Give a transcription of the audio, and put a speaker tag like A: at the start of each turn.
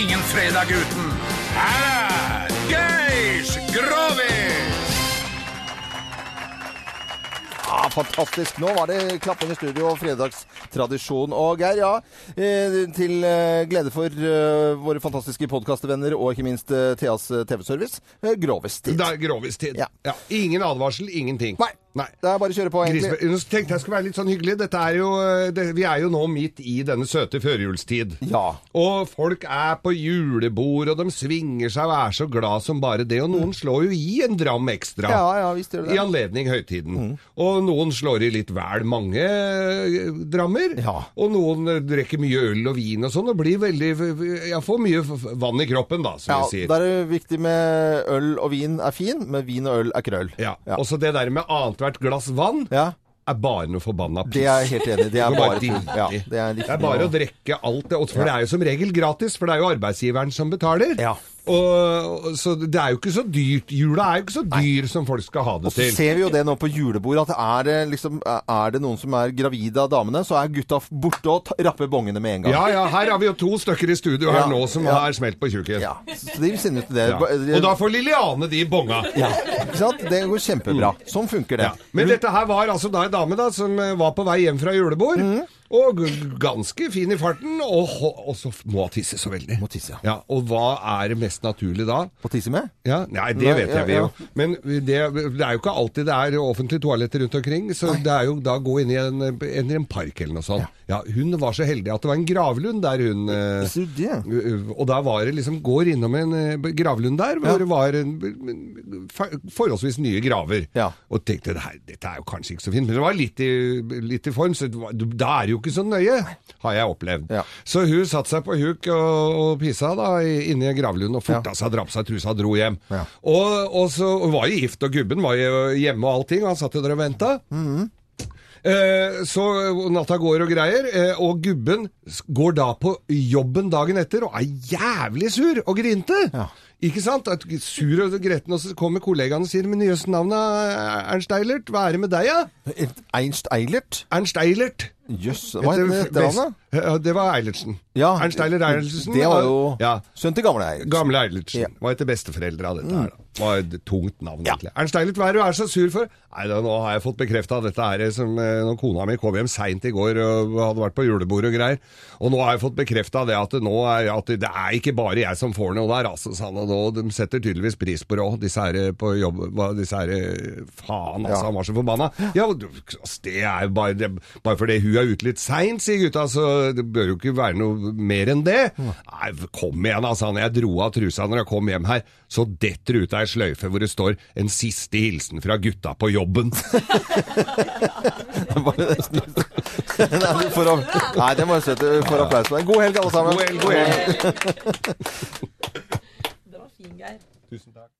A: ingen fredag uten. Her er Geir Grovis!
B: Ja, fantastisk. Nå var det klapping i studio og fredagstradisjon. Og Geir, ja, eh, til eh, glede for eh, våre fantastiske podkastevenner og ikke minst eh, Theas eh, TV-service, eh, Grovis tid.
C: Det er grovistid.
B: Ja.
C: Ja. Ingen advarsel, ingenting.
B: Nei. Det er bare å kjøre på, egentlig.
C: Grisbe- Nå tenkte jeg skulle være litt sånn hyggelig. Dette er jo, eh, det, vi er jo nå midt i denne søte førjulstid.
B: Ja.
C: Og folk er på julebord, og de svinger seg og er så glad som bare det. Og noen slår jo i en dram ekstra.
B: Mm. Ja, ja, visst gjør det Mm.
C: I
B: det.
C: anledning høytiden. Og noen slår i litt vel mange eh, drammer.
B: Ja.
C: Og noen eh, drikker mye øl og vin og sånn, og blir veldig Ja, får mye f- vann i kroppen, da, som
B: Ja,
C: vi sier.
B: da er det viktig med øl og vin er fin, men vin og øl er krøll.
C: Ja.
B: Ja.
C: Og så det der med annethvert glass vann
B: Ja,
C: er bare noe forbanna piss.
B: det er jeg helt enig i. Det er
C: Det
B: bare
C: er bare
B: tull.
C: dritt.
B: Ja, det er,
C: Det er bare å drikke alt det, og- for det er jo som regel gratis, for det er jo arbeidsgiveren som betaler.
B: Ja.
C: Og, og- så det er jo ikke så dyrt. Jula er jo ikke så dyr som folk skal ha det
B: Så
C: til.
B: ser vi jo det nå på julebord, at er det, liksom, er det noen som er gravide av damene, så er gutta borte og ta- rapper bongene med en gang.
C: Ja, ja, her har vi jo to stykker i studio her
B: Ja,
C: nå som
B: ja.
C: har smelt på tjukken.
B: Ja, så de sender ut det.
C: Ja. Og da får Liliane de bonga.
B: Ja, ikke sant? Det går kjempebra. Sånn funker det.
C: Mm. Ja. Men dette her var altså da en dame da, som eh, var på vei hjem fra julebord,
B: Mm.
C: og g- ganske fin i farten, og, ho- og så f- må hun tisse så veldig.
B: Må tisse, ja.
C: ja. Og hva er det mest naturlig da?
B: På tisse med?
C: Ja, nei, det
B: Nei,
C: vet
B: ja,
C: jeg vi
B: ja.
C: jo. Men det, det er jo ikke alltid det er offentlige toaletter rundt omkring, så det er jo da å gå inn i en, inn i en park eller noe sånt. Ja. hun var så heldig at det var en gravlund der hun eh,
B: Visste du det?
C: u- u- Og da var det liksom Går innom en eh, gravlund der, hvor
B: Ja.
C: det var en, en fa- forholdsvis nye graver.
B: Ja.
C: Og tenkte det her, dette er jo kanskje ikke så fint, men det var litt i, litt i form, så det var- da er det jo ikke så nøye, har jeg opplevd.
B: Ja.
C: Så hun satte seg på huk og, og pissa da, i- inni gravlunden og forta seg, drap seg, trusa og dro hjem.
B: Ja.
C: Og, og så hun var jo gift, og gubben var jo hjemme og allting, og han satt jo der og venta. Eh, så natta går og greier, eh, og gubben s- går da på jobben dagen etter og er jævlig sur og grinte.
B: Ja.
C: Ikke sant? At sur og gretten, og så kommer kollegaene og sier Men jøss, navnet er Ernst Eilert, hva er det med deg, da?
B: Einst Eilert?
C: Ernst Eilert.
B: Jøss, hva heter
C: Etter-
B: etternavnet?
C: Ja, det var Eilertsen.
B: Ja,
C: Ernst Eilert Eilertsen.
B: Det var jo
C: ja.
B: sønnen til gamle Eilert.
C: Gamle Eilertsen.
B: Ja.
C: Var etter besteforeldre av dette her, da. Var et tungt navn, egentlig. Ernst Eilert, hva er det du er så sur for? Nei, da, nå har jeg fått bekrefta dette her som eh, når kona mi kom hjem seint i går og hadde vært på julebord og greier. Og nå har jeg fått bekrefta det at det nå er at det er ikke bare jeg som får noe der, altså, sa han. Og nå- de setter tydeligvis pris på det òg, disse her eh, på jobb... hva- Disse her eh, Faen, altså,
B: Ja.
C: han var så forbanna. Ja, og du- altså, det er jo bare, det, bare fordi hun er ute litt seint, sier gutta, så det bør jo ikke være noe mer enn det. Nei, kom igjen, altså. Når jeg dro av trusa når jeg kom hjem her, så detter det ut ei sløyfe hvor det står 'En siste hilsen fra gutta på jobben'.
B: Bare nesten litt- Nei, for å, nei, det må jeg sette for applaus for. God helg, alle sammen.
C: God helg, god helg.
D: Det var fin, Geir.
C: Tusen takk.